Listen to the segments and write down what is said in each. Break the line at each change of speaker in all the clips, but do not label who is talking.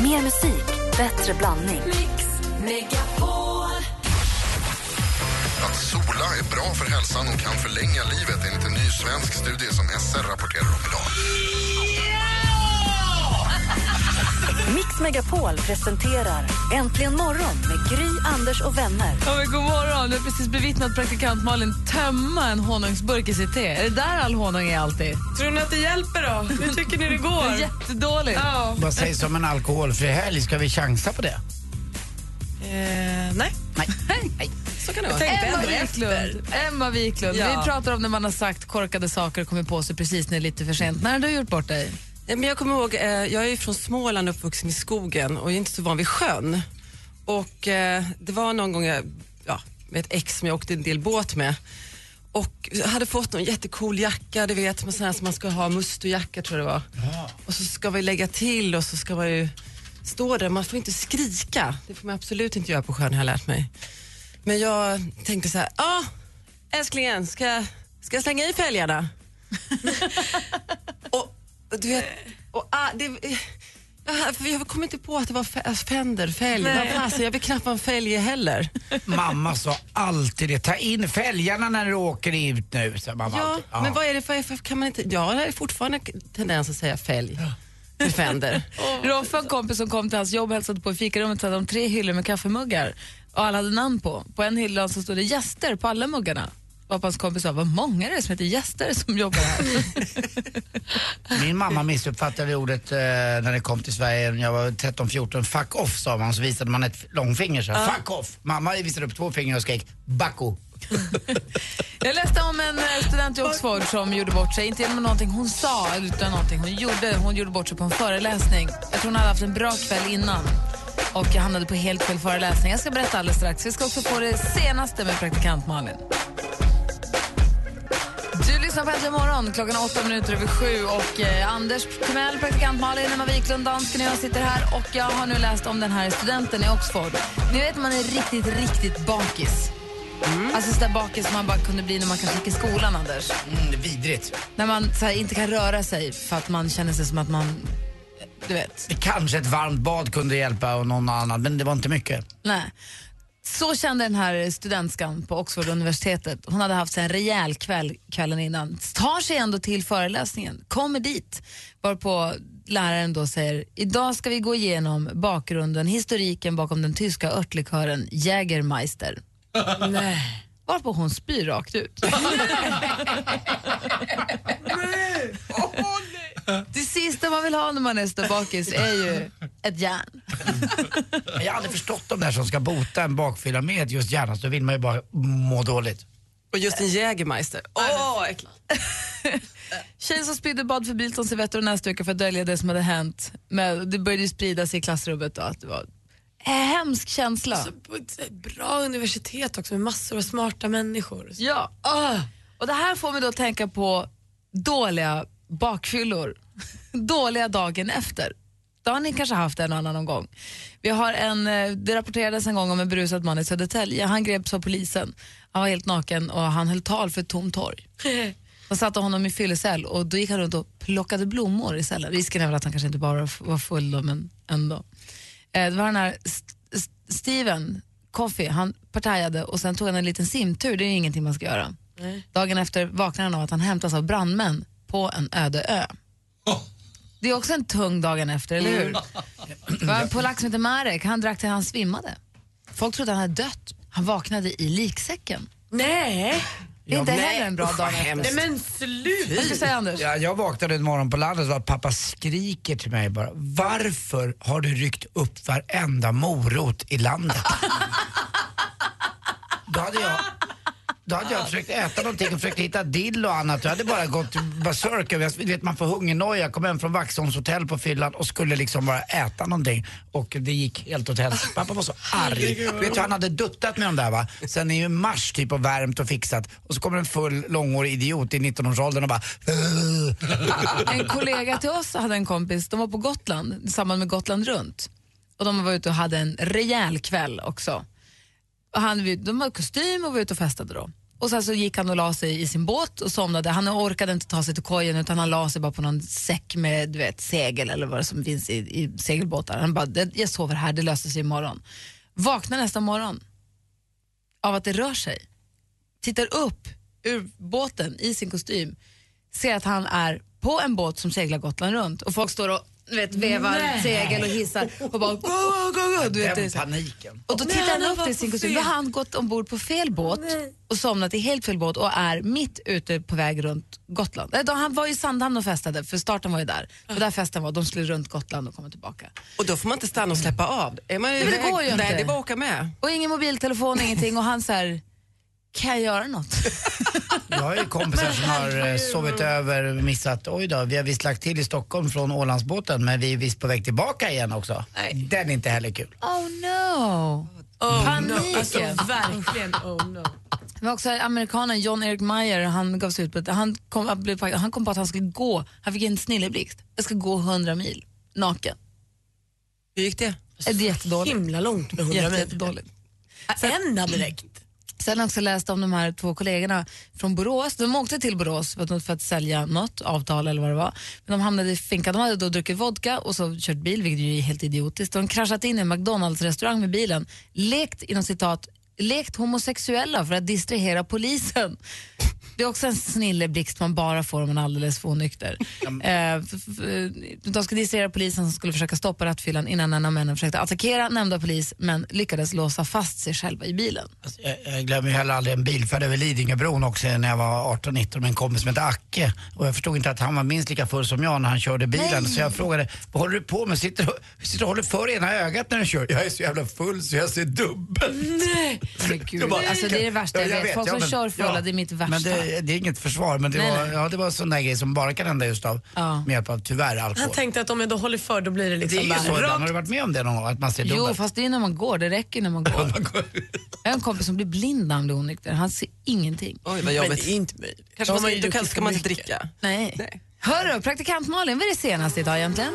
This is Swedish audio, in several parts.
Mer musik, bättre blandning.
Mix Megapol.
Att sola är bra för hälsan och kan förlänga livet enligt en ny svensk studie som SR rapporterar om idag.
Mix Megapol presenterar Äntligen morgon med Gry, Anders och vänner.
Ja, men god morgon. Vi har precis bevittnat praktikant Malin tömma en honungsburk i sitt te. Är det där all honung är alltid?
Tror ni att det hjälper då? Hur tycker ni det
Det är
går?
jättedåligt.
Ja.
Vad sägs om en alkoholfri helg? Ska vi chansa på det?
Eh, nej,
Nej. Nej.
så kan det vara.
Emma Wiklund. Emma Wiklund.
Ja.
Vi pratar om när man har sagt korkade saker och kommit på sig precis när det är lite för sent. När har du gjort bort dig?
Nej, Men jag kommer ihåg, eh, jag är ju från Småland uppvuxen i skogen och jag är inte så van vid sjön. Och eh, det var någon gång jag, ja, med ett ex som jag åkte en del båt med och jag hade fått någon jättecool jacka, du vet, med sån här som man ska ha, mustojacka tror jag det var. Och så ska vi lägga till och så ska man ju stå där, man får inte skrika. Det får man absolut inte göra på sjön har jag lärt mig. Men jag tänkte så här, ja älsklingen, ska, ska jag slänga i fälgarna? och du vet, och, ah, det, jag, för jag kom inte på att det var fä- fänder, fälg. Vad fasen, jag vill knappt vara en fälge heller.
Mamma sa alltid det. Ta in fälgarna när du åker ut nu, sa mamma
Ja,
alltid.
men vad är det för, varför kan man inte, ja, jag har fortfarande tendens att säga fälg. till Fender.
Roffe har en kompis som kom till hans jobb och hälsade på i fikarummet så hade de tre hyllor med kaffemuggar och alla hade namn på. På en hylla så stod det gäster på alla muggarna. Och hans kompis sa, vad många det är som heter gäster som jobbar här.
Min mamma missuppfattade ordet eh, när det kom till Sverige när jag var 13-14. Fuck off sa man, så visade man ett långfinger. Så här, Fuck off! Mamma visade upp två fingrar och skrek backo.
Jag läste om en eh, student i Oxford som gjorde bort sig, inte genom någonting hon sa, utan någonting hon gjorde. Hon gjorde bort sig på en föreläsning. Jag tror hon hade haft en bra kväll innan och jag hamnade på helt fel föreläsning. Jag ska berätta alldeles strax. Vi ska också få det senaste med praktikant Malin. Du lyssnar på Äntligen morgon, klockan är åtta minuter över sju och eh, Anders Timell, praktikant Malin, Emma Wiklund, dansken och jag sitter här och jag har nu läst om den här studenten i Oxford. Ni vet man är riktigt, riktigt bakis. Alltså så där bakis som man bara kunde bli när man kanske gick i skolan, Anders.
Mm, vidrigt.
När man så här, inte kan röra sig för att man känner sig som att man... Du vet.
Kanske ett varmt bad kunde hjälpa och någon annan, men det var inte mycket.
Nej. Så kände den här studentskan på Oxford universitetet. Hon hade haft sig en rejäl kväll kvällen innan. Tar sig ändå till föreläsningen, kommer dit. Varpå läraren då säger, idag ska vi gå igenom bakgrunden, historiken bakom den tyska örtlikören Jägermeister. Nej. Varpå hon spyr rakt ut. Det sista man vill ha när man är så bakis är ju ett järn.
Men Jag har aldrig förstått de där som ska bota en bakfylla med just hjärnan, så vill man ju bara må dåligt.
Och just en Jägermeister. Åh, äckligt.
Tjejen som spydde bad för Bilton servetter nästa vecka för att dölja det som hade hänt. Men det började ju spridas i klassrummet då, att det var en hemsk känsla.
på ett bra universitet också med massor av smarta människor.
Ja. Och det här får mig då tänka på dåliga bakfyllor. dåliga dagen efter. Det har ni kanske haft en och annan någon gång. Vi har en, eh, det rapporterades en gång om en berusad man i Södertälje. Han greps av polisen. Han var helt naken och han höll tal för ett tomt torg. De satte honom i fyllecell och då gick han runt och plockade blommor i cellen. Risken är väl att han kanske inte bara var full då, men ändå. Eh, det var den här St- St- Steven Coffey, han partajade och sen tog han en liten simtur, det är ju ingenting man ska göra. Dagen efter vaknar han av att han hämtas av brandmän på en öde ö. Det är också en tung dagen efter, eller hur?
Mm.
Det var en polack som heter Marek, han drack till han svimmade. Folk trodde han hade dött. Han vaknade i liksäcken.
Nej!
Det är inte
nej,
heller en bra
usch,
dag
vad hemskt.
efter.
Nej men slut!
Vad ska du säga Anders?
Ja, jag vaknade en morgon på landet och var att pappa skriker till mig bara. Varför har du ryckt upp varenda morot i landet? då hade jag, då hade jag försökt äta någonting och försökt hitta dill och annat. Jag hade bara gått berserk. över- Jag vet, Man får hungernoja. Jag kom hem från Vaxholms hotell på fyllan och skulle liksom bara äta någonting. Och det gick helt åt helsike. Pappa var så arg. Du vet, han hade duttat med de där va. Sen är ju mars typ och värmt och fixat. Och så kommer en full långårig idiot i 19-årsåldern och bara
En kollega till oss hade en kompis, de var på Gotland i samband med Gotland runt. Och de var ute och hade en rejäl kväll också. Och han, de hade kostym och var ute och festade då. Och sen så gick han och la sig i sin båt och somnade. Han orkade inte ta sig till kojen utan han la sig bara på någon säck med du vet, segel eller vad det som finns i, i segelbåtar. Han bara, "Det- jag sover här, det löser sig imorgon. Vaknar nästa morgon av att det rör sig. Tittar upp ur båten i sin kostym. Ser att han är på en båt som seglar Gotland runt och folk står och du vet, vevar segel och hissar och bara go, go, go, go. Du vet, det är
Den
så här.
paniken.
Och då
Nej,
tittar han
han
upp
var
till
på
sin kusin.
fel.
Då har han gått ombord på fel båt och somnat i helt fel båt och är mitt ute på väg runt Gotland. Nej, då han var i Sandhamn och festade, för starten var ju där. Och där festen var, de skulle runt Gotland och komma tillbaka.
Och då får man inte stanna och släppa av. Är man
men det
iväg-
går ju
Nej,
inte.
det är bara att åka med.
Och ingen mobiltelefon, ingenting. Och han så här, kan jag göra något?
Jag har ju kompisar som har eh, sovit över och missat. Oj då, vi har visst lagt till i Stockholm från Ålandsbåten men vi är visst på väg tillbaka igen också.
Nej.
Den är inte heller kul.
Oh no!
Oh,
Paniken.
No. Alltså, verkligen oh no.
Men också amerikanen John Eric Meyer, han gav sig ut på ett, han, kom, han blev- han kom på att han skulle gå, han fick en snilleblixt. Jag ska gå 100 mil, naken.
Hur gick det?
Det är jättedåligt.
Himla långt med 100
Jätte,
meter.
jättedåligt.
Ända direkt.
Sen har jag också läst om de här två kollegorna från Borås. De åkte till Borås för att, för att sälja något avtal eller vad det var. Men de hamnade i finkan. De hade då druckit vodka och så kört bil, vilket ju är helt idiotiskt. De kraschat in i en McDonalds-restaurang med bilen, lekt inom citat, lekt homosexuella för att distrahera polisen. Det är också en snilleblixt man bara får om man är alldeles för onykter. Eh, f- f- De skulle distrahera polisen som skulle försöka stoppa rattfyllan innan en av männen försökte attackera nämnda polis men lyckades låsa fast sig själva i bilen.
Alltså, jag, jag glömmer ju heller aldrig en bilfärd över Lidingöbron också när jag var 18-19 med en kompis som hette Acke. Och jag förstod inte att han var minst lika full som jag när han körde bilen. Så jag frågade, vad håller du på med? Sitter du sitter och håller för ena ögat när du kör? Jag är så jävla full så jag ser dubbelt.
Men gud,
Jag bara,
Mm. alltså det är det värsta jag,
Ja,
vet. Folk
ja,
som
men-
kör fulla,
ja.
det är mitt värsta.
Men det, det är inget försvar, men det,
Nej,
var,
nej.
Ja, det var en sån där grej som bara kan hända just av,
Ja.
med hjälp av, tyvärr, alkohol.
Han tänkte att om jag då håller för då blir det
det är
liksom
ju så,
bara
ibland.
rakt
har du varit med om det någon gång? Att man ser dubbelt?
jo, fast det är när man går, det räcker när man går. Jag har en kompis som blir blind när han blir onykter, han ser ingenting.
Oj, vad
Men
jobbigt.
det är inte möjligt.
Kanske man,
har
då
ju
kan,
druckit
ska man
för
inte
mycket.
dricka.
Nej.
Nej.
Hörru, praktikant Malin, vad är det senaste idag egentligen?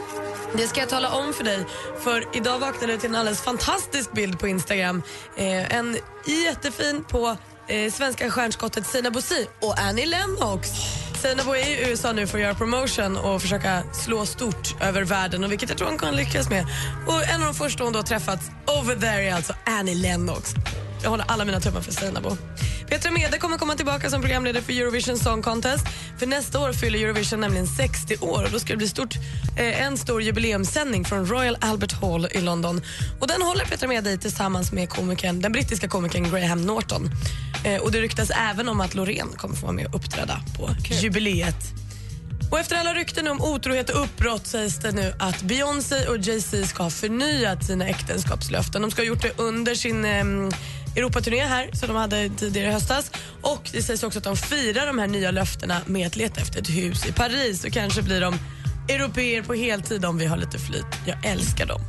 Det ska jag tala om för dig, för idag vaknade jag till en alldeles fantastisk bild på Instagram. Eh, en jättefin på eh, svenska stjärnskottet Sina Bosi och Annie Lennox. Sina Bo är i USA nu för att göra promotion och försöka slå stort över världen, och vilket jag tror hon kan lyckas med. Och en av de första hon då träffat over there är alltså Annie Lennox. Jag håller alla mina tummar för Seinabo. Petra Mede kommer komma tillbaka som programledare för Eurovision Song Contest. För nästa år fyller Eurovision nämligen 60 år och då ska det bli stort, eh, en stor jubileumssändning från Royal Albert Hall i London. Och den håller Petra Mede i tillsammans med komikern, den brittiska komikern Graham Norton. Eh, och det ryktas även om att Loreen kommer få vara med och uppträda på jubileet. Och efter alla rykten om otrohet och uppbrott sägs det nu att Beyoncé och Jay-Z ska ha förnyat sina äktenskapslöften. De ska ha gjort det under sin um, Europaturné här som de hade tidigare i höstas. Och det sägs också att de firar de här nya löftena med att leta efter ett hus i Paris och kanske blir de europeer på heltid om vi har lite flyt. Jag älskar dem.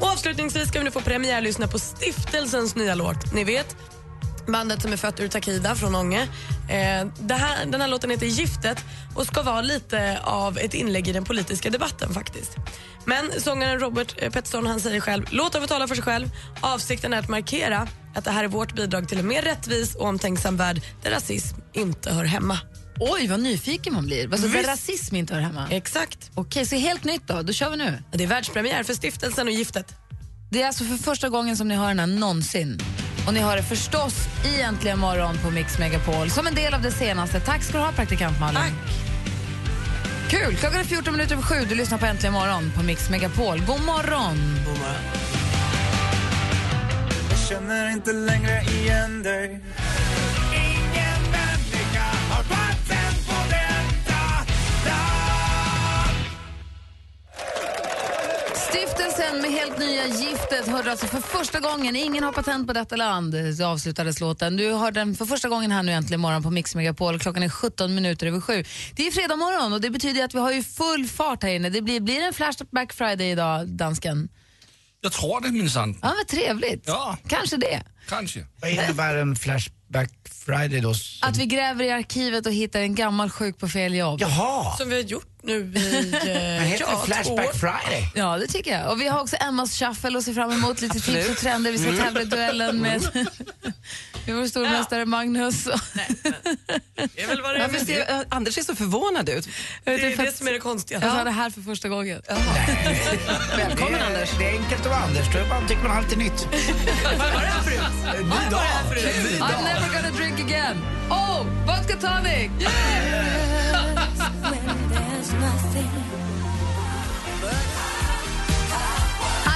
Och avslutningsvis ska vi nu få premiärlyssna på Stiftelsens nya låt. Ni vet, bandet som är fött ur Takida från Ånge. Eh, det här, den här låten heter Giftet och ska vara lite av ett inlägg i den politiska debatten faktiskt. Men sångaren Robert eh, Pettersson han säger själv, låten får tala för sig själv. Avsikten är att markera att det här är vårt bidrag till en mer rättvis och omtänksam värld där rasism inte hör hemma.
Oj, vad nyfiken man blir. Alltså, där
Visst.
rasism inte hör hemma.
Exakt.
Okej, så helt nytt då. Då kör vi nu.
Det är världspremiär för stiftelsen och Giftet.
Det är alltså för första gången som ni hör den här någonsin. Och ni hör det förstås i Äntligen morgon på Mix Megapol som en del av det senaste. Tack ska du ha, praktikant Malin.
Tack.
Kul! Klockan är 14 minuter över sju. Du lyssnar på Äntligen morgon på Mix Megapol. God morgon!
känner inte längre igen dig Ingen människa har patent på detta
Stiftelsen med helt nya Giftet hörde alltså för första gången, ingen har patent på detta land, så avslutades låten. Du hör den för första gången här nu äntligen morgon på Mix Megapol. Klockan är 17 minuter över sju. Det är fredag morgon och det betyder att vi har ju full fart här inne. Det blir, blir det en Flashback Friday idag, dansken?
Jag tror det minsann.
Ja, vad trevligt.
Ja.
Kanske det.
Kanske.
Vad innebär en Flashback Friday då?
Att vi gräver i arkivet och hittar en gammal sjuk på fel jobb.
Jaha!
Som vi har gjort nu i
Men
eh,
heter
ja,
det
två
Flashback
år.
Friday?
Ja, det tycker jag. Och vi
Mm.
har också Emmas shuffle att se fram emot, lite tips och trender. Vi ska tävla i duellen med... Vi var stormästare Magnus.
Det är väl vad det
Varför ser
är. Anders ser så förvånad ut.
Det
Det är det som är det konstiga.
Jag sa det här för första gången.
Välkommen det, är- Det är enkelt att vara Anders. Då är man, tycker man alltid nytt. Vad var det här förut? Ny dag. Ny
I'm
dag.
never gonna drink again. Oh, vodka tonic!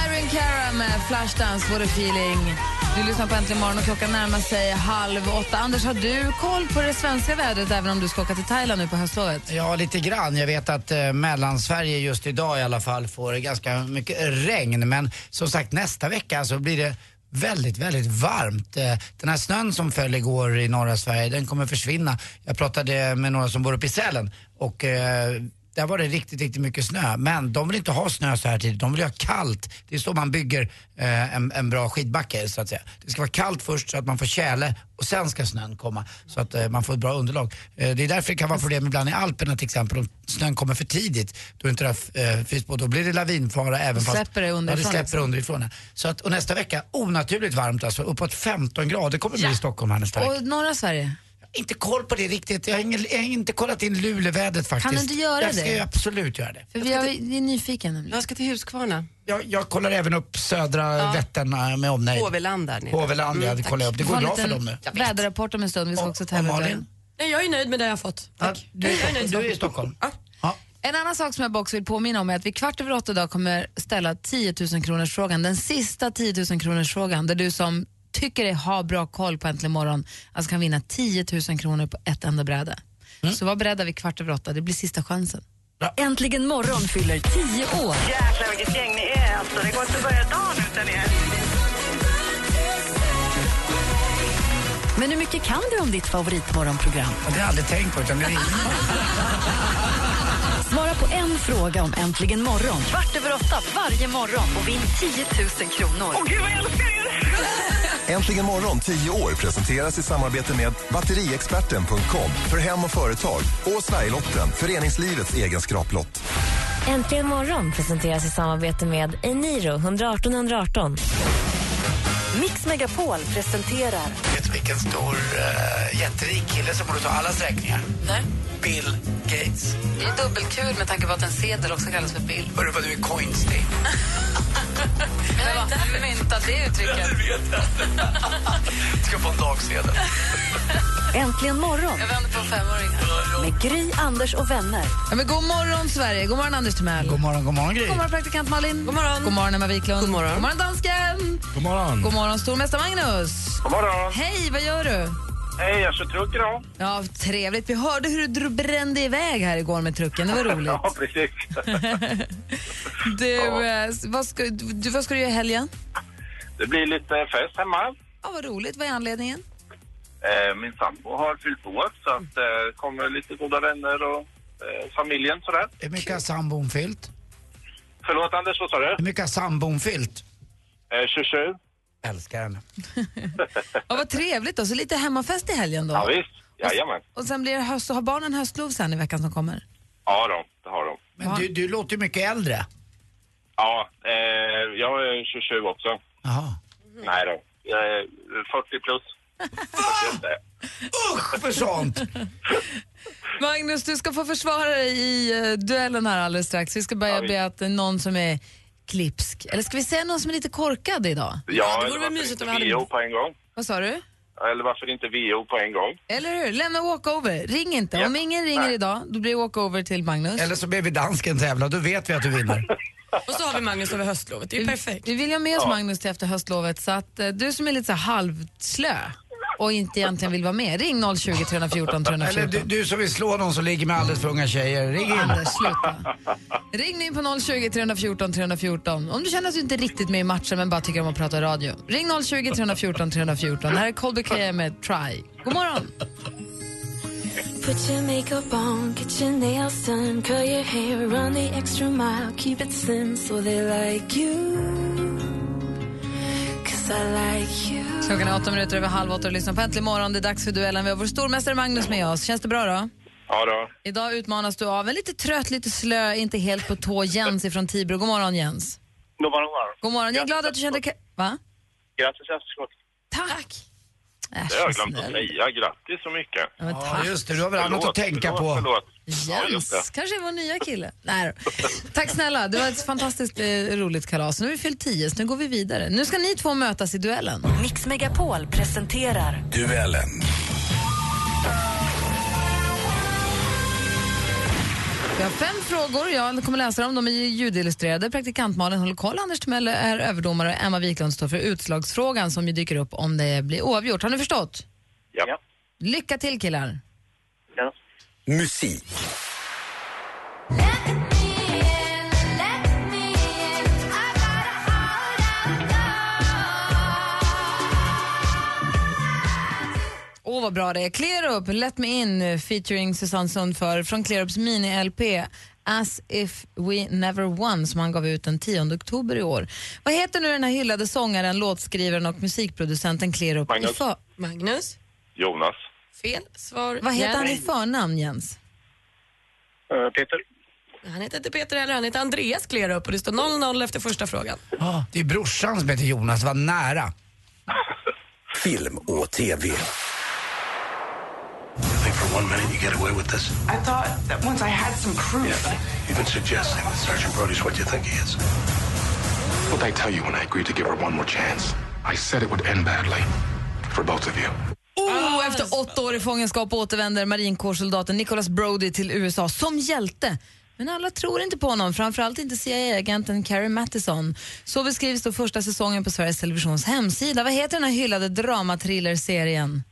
Irene Cara med Flashdance, What a feeling. Du lyssnar på Äntligen morgon och klockan närmar sig halv åtta. Anders, har du koll på det svenska vädret även om du ska åka till Thailand nu på höstlovet?
Ja, lite grann. Jag vet att eh, Mellansverige just idag i alla fall får ganska mycket regn. Men som sagt, nästa vecka så blir det väldigt, väldigt varmt. Eh, Den här snön som föll igår i norra Sverige, den kommer försvinna. Jag pratade med några som bor uppe i Sälen och eh, där var det riktigt, riktigt mycket snö. Men de vill inte ha snö så här tidigt, de vill ha kallt. Det är så man bygger eh, en, en bra skidbacke så att säga. Det ska vara kallt först så att man får tjäle och sen ska snön komma så att eh, man får ett bra underlag. Eh, det är därför det kan vara problem ibland i Alperna till exempel om snön kommer för tidigt. Då, är inte det, här, eh, finns på, då blir det lavinfara även
Då
fast...
släpper det
Ja, det
underifrån,
släpper
liksom.
underifrån. ja. Så att, och nästa vecka, onaturligt varmt alltså. Uppåt 15 grader kommer det bli i Stockholm här nästa vecka.
Och norra Sverige?
Inte koll på det riktigt. Jag har, ingen, jag har inte kollat in lulevädret faktiskt.
du inte göra
jag ska
det?
ju absolut göra det.
För vi, har, vi är nyfikna nämligen.
Jag ska till Huskvarna.
Jag, jag kollar även upp södra Vättern eh, med omnejd.
HV-land där nere.
HV-land, ja, det kollar jag upp. Det
Vi får
går
en
bra för
liten
dem nu.
Väderrapport om en stund. Vi ska
Och-
också
och
tävla ut
Malin?
den.
Nej, jag är nöjd med det jag har fått.
Ja, Du, är, du är i Stockholm? Ja.
En annan sak som jag bara också vill påminna om är att vi kvart över åtta idag kommer ställa 10 000 kronors frågan. Den sista 10 000 kronors frågan där du som tycker dig ha bra koll på Äntligen morgon alltså kan vinna 10 000 kronor på ett enda bräde. Så var beredda vid kvart över åtta, det blir sista chansen.
Äntligen morgon fyller 10 år.
Jäklar vilket gäng ni är alltså. Det går inte att börja dagen utan er.
Men hur mycket kan du om ditt favoritmorgonprogram?
Det har jag aldrig tänkt på. Utan det är
Svara på en fråga om Äntligen morgon. Kvart över åtta varje morgon och vinn 10 000 kronor.
Åh gud vad jag älskar er!
Äntligen morgon 10 år presenteras i samarbete med batteriexperten.com för hem och företag och Sverigelotten, föreningslivets egen skraplott.
Äntligen morgon presenteras i samarbete med Eniro 118 118.
Mix Megapol presenterar
Vet du vilken stor uh, jätterik kille som borde ta allas räkningar?
Nej.
Bill Gates.
Det är dubbelkul med tanke på att en sedel också kallas för bild.
Hörru vad du är coinstig.
Jag har inte myntat det uttrycket.
Ska få en dagsedel.
Äntligen morgon
vänder på femåringar.
med Gry, Anders och vänner.
Ja, men god morgon Sverige, god morgon Anders Timell.
God morgon, god morgon Gry.
God morgon praktikant Malin. God morgon. God morgon Emma Wiklund. God morgon. God morgon dansken.
God morgon.
God morgon stormästare Magnus.
God morgon.
Hej, vad gör du?
Hej, jag kör truck idag.
Ja, trevligt. Vi hörde hur du dro- brände iväg här igår med trucken. Det var roligt.
precis.
Du, eh, vad, ska, du, vad ska du göra i helgen?
Det blir lite fest hemma.
Ja, vad roligt. Vad är anledningen?
Eh, Min sambo har fyllt år så att eh, kommer lite goda vänner och eh, familjen sådär.
Hur mycket har sambon fyllt?
Förlåt Anders, vad sa du?
Hur mycket har sambon fyllt?
Eh, 27?
Älskar henne.
Ja, vad trevligt då. Så lite hemmafest i helgen
Ja,
då.
visst. Jajamän.
Och sen blir det höst. Och har barnen höstlov sen i veckan som kommer?
Ja då, det har de.
Men du, du låter ju mycket äldre.
Ja, eh, jag är 27 också.
Jaha.
Mm.
Nej då, jag är 40 plus. 41 är jag.
Usch för sånt!
Magnus, du ska få försvara dig i eh, duellen här alldeles strax. Vi ska börja
Ja, vi-
be att eh, någon som är klipsk, eller ska vi säga någon som är lite korkad idag?
Ja,
det vore
eller
väl
varför
mysigt om vi
inte
hade-
VO på en gång?
Vad sa du?
Eller varför inte VO på en gång?
Eller hur? Lämna walkover. Ring inte.
Ja.
Om ingen ringer
Nej.
idag, då blir det walkover till Magnus.
Eller så ber vi dansken tävla, då vet vi att du vinner.
Och så har vi Magnus över höstlovet. Det är ju perfekt.
Vi vill ju ha med oss Magnus till efter höstlovet så att eh, du som är lite så här halvslö och inte egentligen vill vara med, ring 020 314
Eller
314.
du, du som vill slå någon som ligger med alldeles för unga tjejer, ring in.
Anders, sluta. Ring nu in på 020 314 314 om du känner att du inte är riktigt med i matchen men bara tycker om att prata radio. Ring 020 314 314. Det här är Colby Kaye med Try. God morgon!
Put your makeup on, get your nails done, curl your hair, run the extra mile, keep it slim so they like you. Cause I like you.
Klockan är åtta minuter över halv åtta och lyssnar på Äntligen morgon. Det är dags för duellen. Vi har vår stormästare Magnus med oss. Känns det bra då?
Ja då.
Idag utmanas du av en lite trött, lite slö, inte helt på tå Jens ifrån Tibro. God morgon Jens.
God morgon, god morgon.
God morgon. Jag är glad att du kände... ka- Va?
Grattis i efterskott.
Tack. Äh,
det har jag glömt att säga. Grattis så mycket.
men
Ja,
tack.
just det. Du har väl annat att tänka
förlåt,
på.
Förlåt. Ja, just det.
Jens, kanske är vår nya kille. Nej. då. Tack snälla, det var ett fantastiskt eh, roligt kalas. Nu har vi fyllt 10, så nu går vi vidare. Nu ska ni två mötas i duellen.
Mix Megapol presenterar
Duellen.
Vi har fem frågor, jag kommer läsa dem. De är ju ljudillustrerade. Praktikant Malin håller koll, Anders Timell är överdomare och Emma Wiklund står för utslagsfrågan som ju dyker upp om det blir oavgjort. Har ni förstått?
Ja.
Lycka till killar!
Musik.
Åh, vad bra det är. Clear Up, Let Me In eh, featuring Susanne Sundför från Clear Ups mini-LP As If We Never Won som han gav ut den 10 oktober i år. Vad heter nu den här hyllade sångaren, låtskrivaren och musikproducenten Clear Up?
Magnus.
I för...
Magnus?
Jonas.
Fel svar.
Vad heter han i
Jens.
förnamn, Jens?
Eh, Peter.
Han heter inte Peter heller, han heter Andreas Klerup och det står 0-0 efter första frågan.
Ja, Det är brorsan som heter Jonas, var nära.
Film och TV.
For one minute, you get away with this. I thought that once I had some proof. You've been suggesting that Sergeant Brody's what you think he is. What I tell you when I agreed to give her one more chance, I said it would end badly for both of you.
Oh, efter åtta år i fångenskap återvänder marinkårssoldaten Nicholas Brody till USA som hjälte. Men alla tror inte på honom, framförallt inte CIA-agenten Carrie Mathison. Så beskrivs då första säsongen på Sveriges Televisions hemsida. Vad heter den här hyllade dramathrillerserien?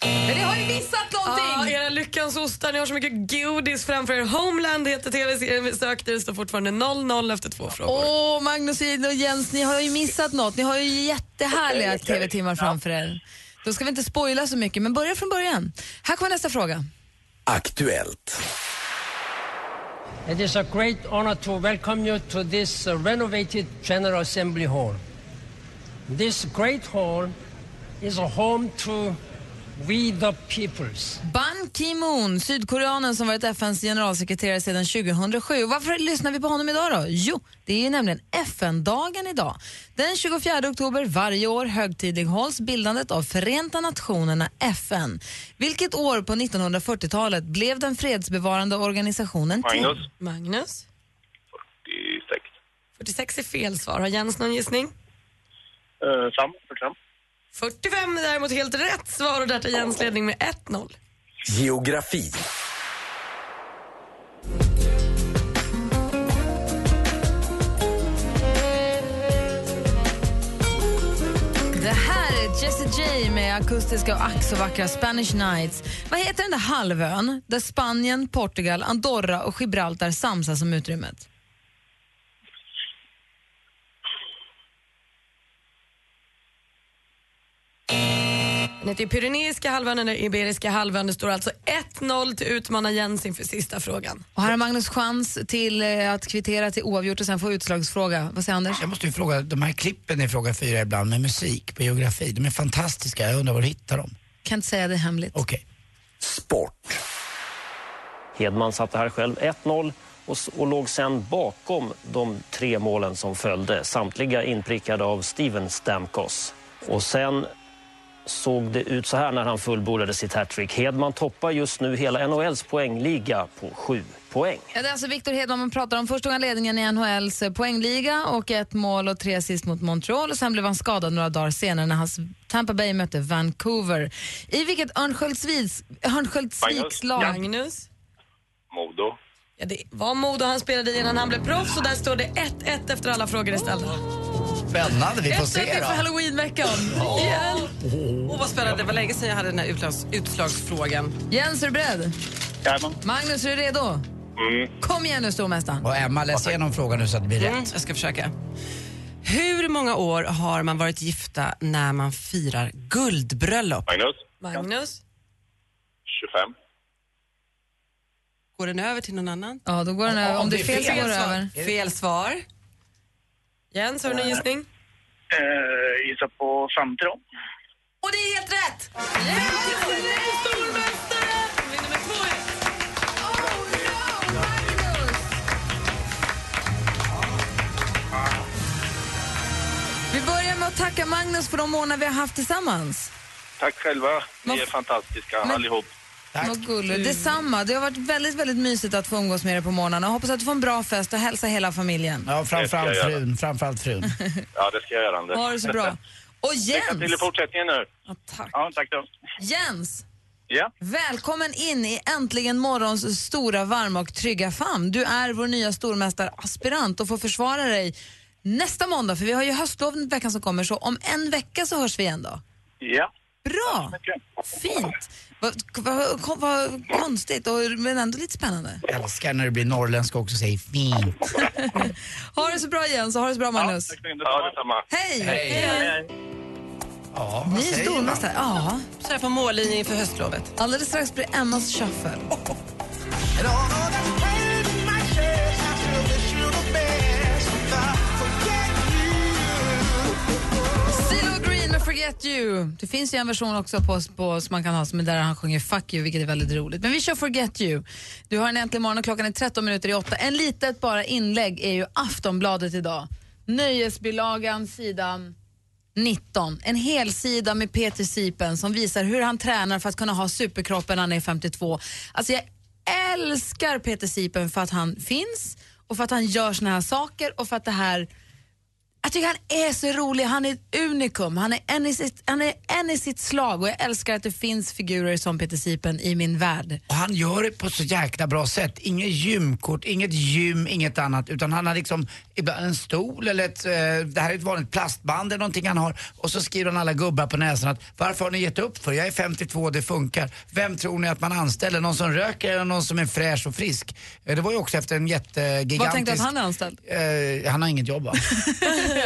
Men ni har ju missat någonting!
Ah, era lyckans ostar, ni har så mycket godis framför er. Homeland heter tv-serien vi sökte, det står fortfarande 0-0 efter två frågor.
Åh, Magnus och Jens, ni har ju missat något. Ni har ju jättehärliga TV-timmar framför er. Då ska vi inte spoila så mycket, men börja från början. Här kommer nästa fråga.
Aktuellt.
It is a great honor to welcome you to this uh, renovated General Assembly Hall. This great hall is a home to we the peoples.
Ban Ki-Moon, sydkoreanen som varit FNs generalsekreterare sedan 2007. Varför lyssnar vi på honom idag då? Jo, det är ju nämligen FN-dagen idag. Den 24 oktober varje år högtidlighålls bildandet av Förenta Nationerna, FN. Vilket år på 1940-talet blev den fredsbevarande organisationen till?
Magnus.
Magnus?
46.
46 är fel svar. Har Jens någon gissning?
Eh, Sam. 45.
45 är däremot helt rätt svar och där tar Jens ledning med 1-0.
Geografi.
Det här är Jessie J med akustiska och ack så vackra Spanish Nights. Vad heter den där halvön där Spanien, Portugal, Andorra och Gibraltar samsas om utrymmet?
Den heter ju Pyreneiska halvön eller Iberiska halvön. Det står alltså 1-0 till utmanar Jens inför sista frågan.
Och här har Magnus chans till eh, att kvittera till oavgjort och sen få utslagsfråga. Vad säger Anders?
Jag måste ju fråga, de här klippen i fråga fyra ibland med musik på geografi, de är fantastiska. Jag undrar var du hittar dem.
Kan inte säga det hemligt.
Okej.
Sport. Hedman satte här själv 1-0 och, s- och låg sen bakom de tre målen som följde, samtliga inprickade av Steven Stamkos. Och sen såg det ut så här när han fullbordade sitt hattrick. Hedman toppar just nu hela NHLs poängliga på sju poäng.
Ja, det är alltså Victor Hedman man pratar om. Först tog han ledningen i NHLs eh, poängliga och ett mål och tre assist mot Montreal. Och sen blev han skadad några dagar senare när hans Tampa Bay mötte Vancouver. I vilket Örnsköldsviks, Örnsköldsviks
Magnus.
lag...
Ja.
Magnus?
Modo.
Ja, det var Modo han spelade i innan han blev proffs och där står det 1-1 efter alla frågor är ställda.
Spännande, vi får
1-1
se
inför
då. Oh.
halloweenveckan.
Igen!
Åh, vad spännande. Det var länge sedan jag hade den här utlags- utslagsfrågan.
Jens, är du beredd?
Jajamän.
Magnus, är du redo?
Mm.
Kom igen nu, stormästaren.
Och Emma, läs igenom frågan nu så att det blir
Mm,
rätt.
jag ska försöka. Hur många år har man varit gifta när man firar guldbröllop?
Magnus.
Magnus?
25.
Går den över till någon annan?
Ja, då går den över. Om det är fel så går det
svar.
över.
Fel svar.
Jens, har du någon gissning?
Eh, gissa på 50 då.
Och det är helt rätt! tacka Magnus för de månader vi har haft tillsammans.
Tack själva. Ni är fantastiska allihop.
Vad gulligt.
Mm.
Detsamma. Det har varit väldigt, väldigt mysigt att få umgås med er på morgnarna. Hoppas att du får en bra fest och hälsa hela familjen.
Ja,
Det
framförallt
ska jag
frun. Framförallt frun.
Ja, det ska jag göra, Anders.
Ha det så bra. Och
Lycka till i
Jens,
fortsättningen nu. Ja,
tack.
Ja, tack då.
Jens,
Ja.
välkommen in i Äntligen morgons stora, varma och trygga famn. Du är vår nya stormästaraspirant och får försvara dig nästa måndag, för vi har ju höstlov veckan som kommer, så om en vecka så hörs vi igen då.
Ja.
Bra! Fint! Vad vad- vad- vad konstigt, och, men ändå lite spännande.
Jag älskar när det blir norrländska också, säger fint.
Ha det så bra Jens och ha det så bra Magnus.
Ja, detsamma.
Hej!
Hej.
Hej.
Ja,
Ny stormästare. Ja.
Så här på mållinjen inför höstlovet.
Alldeles strax blir Emmas shuffle. CeeLo Green med Forget You. Det finns ju en version också på, på, som man kan ha som är där han sjunger Fuck You, vilket är väldigt roligt. Men vi kör Forget You. Du har en äntligen morgon och klockan är 13 minuter i 8. En litet bara inlägg är ju Aftonbladet idag. Nöjesbilagan, sidan 19. En hel sida med Peter Sipen som visar hur han tränar för att kunna ha superkroppen när han är 52. Alltså jag älskar Peter Sipen för att han finns och för att han gör såna här saker och för att det här jag tycker han är så rolig, han är ett unikum, han är, en i sitt, han är en i sitt slag och jag älskar att det finns figurer som Peter Sipen i min värld.
Och han gör det på så jäkla bra sätt. Inget gymkort, inget gym, inget annat. Utan han har liksom ibland en stol eller ett, eh, det här är ett vanligt plastband eller någonting han har. Och så skriver han alla gubbar på näsan att varför har ni gett upp för? Jag är 52, det funkar. Vem tror ni att man anställer? Någon som röker eller någon som är fräsch och frisk? Eh, Det var ju också efter en jättegigantisk...
Vad tänkte du att han är anställd?
Eh, han har inget jobb va?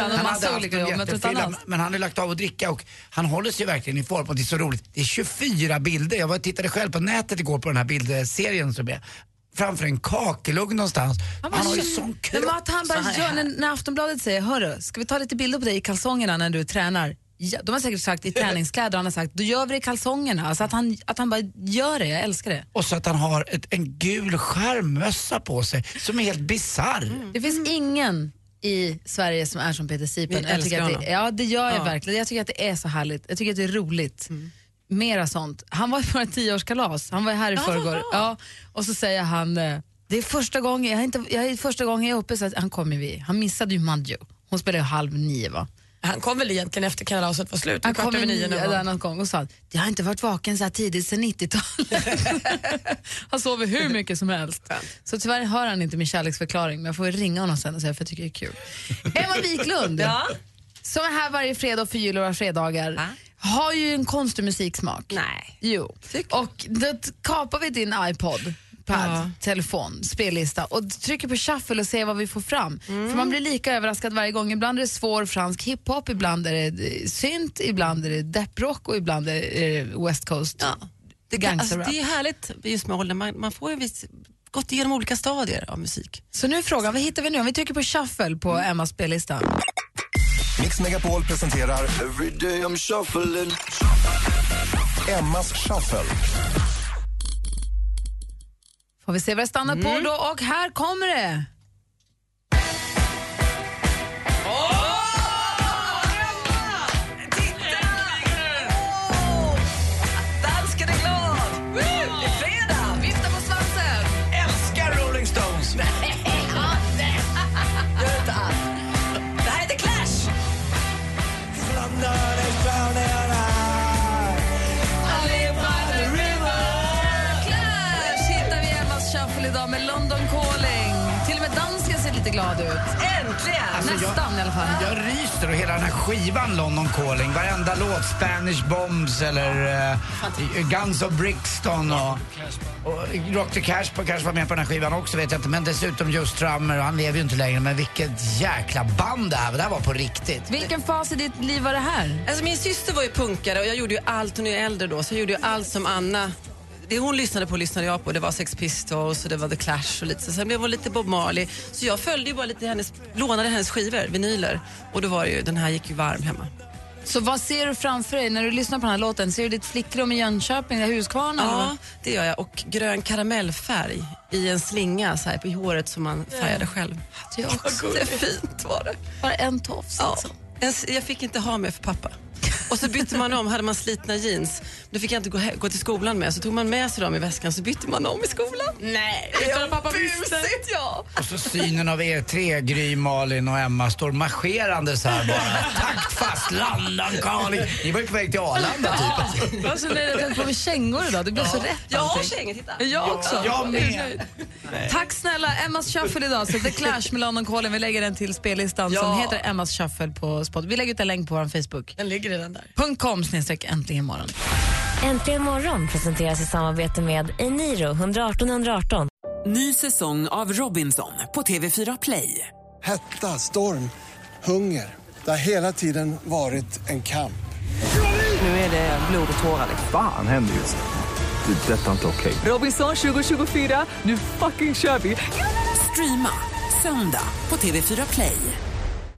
han har
hade
massa
haft
olika
en
jobb, men jag tror inte han
jättefylla,
har-
men han har lagt av att dricka och han håller sig verkligen i form och det är så roligt. Det är 24 bilder. Jag var och tittade själv på nätet igår på den här bildserien som är framför en kakelugn någonstans. Han, har ju sån
Nej,
kropp.
men att han
så
bara
här
gör,
här.
när, när Aftonbladet säger, hörru, ska vi ta lite bilder på dig i kalsongerna när du tränar? Ja, de har säkert sagt i träningskläder, han har sagt, då gör vi det i kalsongerna. Alltså att han, att han bara gör det, jag älskar det.
Och så att han har ett, en gul skärmmössa på sig som är helt bisarr.
Det finns ingen i Sverige som är som Peter Sipen.
Mm. Vi
Jag tycker
älskar
att det, ja, det gör jag
Ja. Mm.
verkligen. Jag tycker att det är så härligt. Jag tycker att det är roligt. Mera sånt. Han var på ett tioårskalas. Han var här i förrgår. Ja, och så säger han, eh, det är första gången jag, är inte, jag, är första gången jag är uppe, så att han kom ju vid. Han missade ju Maggio. Hon spelade ju halv nio va?
Han kom väl egentligen efter kalaset var slut,
Han
kvart
kom
över
vid
nio
nio
någon gång.
där någon gång och sa, jag har inte varit vaken så här tidigt sedan 90-talet. han sover hur mycket som helst. Så tyvärr hör han inte min kärleksförklaring, men jag får väl ringa honom sen och säga för jag tycker det är kul. Emma Wiklund, som är här varje fredag och förgyller våra fredagar, har ju en konstig musiksmak. Nej. Jo. Och då t- kapar vi din iPod, pad, telefon, spellista och trycker på shuffle och ser vad vi får fram. För man blir lika överraskad varje gång. Ibland är det svår fransk hiphop, ibland är det eh, synt, ibland är det depprock och ibland är det eh, West Coast.
Det, kan, alltså, det är härligt just med åldern, man, man får ju visst gått igenom olika stadier av musik.
Så nu är frågan, vad hittar vi nu? Om vi trycker på shuffle på Emmas spellista.
Mix Megapol presenterar Every day I'm shuffling. Emmas shuffle.
Får vi se vad det stannar
Mm.
på då och här kommer det.
Dansken är glad! Det är fredag! Vifta på svansen! Älskar Rolling Stones! Gör inte alls. Det här heter Clash!
Clash hittar vi i Emmas shuffle idag med London calling. Till och med dansken ser lite glad ut.
Äntligen!
Alltså, jag-
Nästan i alla fall.
Jag ryser och hela den här skivan London Calling, varenda låt, Spanish Bombs eller eh, Guns of Brixton och, och Rock the Cash på, kanske var med på den här skivan också vet jag inte, men dessutom Joe Strummer och han lever ju inte längre men vilket jäkla band det här var, det här var på riktigt.
Vilken fas i ditt liv var det här?
Alltså min syster var ju punkare och jag gjorde ju allt, hon är ju äldre då, så jag gjorde ju allt som Anna det hon lyssnade på lyssnade jag på. Det var Sex Pistols och det var The Clash och lite så. Sen blev hon lite Bob Marley. Så jag följde ju bara lite hennes, lånade hennes skivor, vinyler. Och då var det ju, den här gick ju varm hemma.
Så vad ser du framför dig när du lyssnar på den här låten? Ser du ditt flickrum i Jönköping, där Huskvarna? eller
Ja,
vad?
det gör jag. Och grön karamellfärg i en slinga så här, i håret som man färgade själv.
Det är också
Vad gulligt. fint var det.
Bara en tofs. Alltså.
En, s- jag fick inte ha med för pappa. Och så bytte man om, hade man slitna jeans. Det fick jag inte gå, he- gå till skolan med. Så tog man med sig dem i väskan så bytte man om i skolan.
Nej,
utan att pappa
visste. Ja.
Och så synen av er tre, Gry, Malin och Emma, står marscherande så här bara. Taktfast, Landankaling. Ni var ju på väg till Arlanda typ.
Jag var så nöjd att jag på med kängor idag. Det blev så rätt.
Jag har
allting.
kängor, titta.
Jag också.
jag med.
är nöjd. Tack snälla. Emmas shuffle idag. Så The Clash med London Calling. Vi lägger den till spellistan
Ja.
som heter Emmas shuffle på spot. Vi lägger ut en länk på vår Facebook.
Den ligger redan där.
.com snedstreck äntligen morgon.
Äntligen morgon presenteras i samarbete med Eniro 118 118.
Ny säsong av Robinson på TV4 Play.
Hetta, storm, hunger. Det har hela tiden varit en kamp.
Nu är det blod och tårar. liksom.
Fan händer just nu. Det. är Detta är inte okej.
Robinson 2024, nu fucking kör vi! Streama söndag på TV4 Play.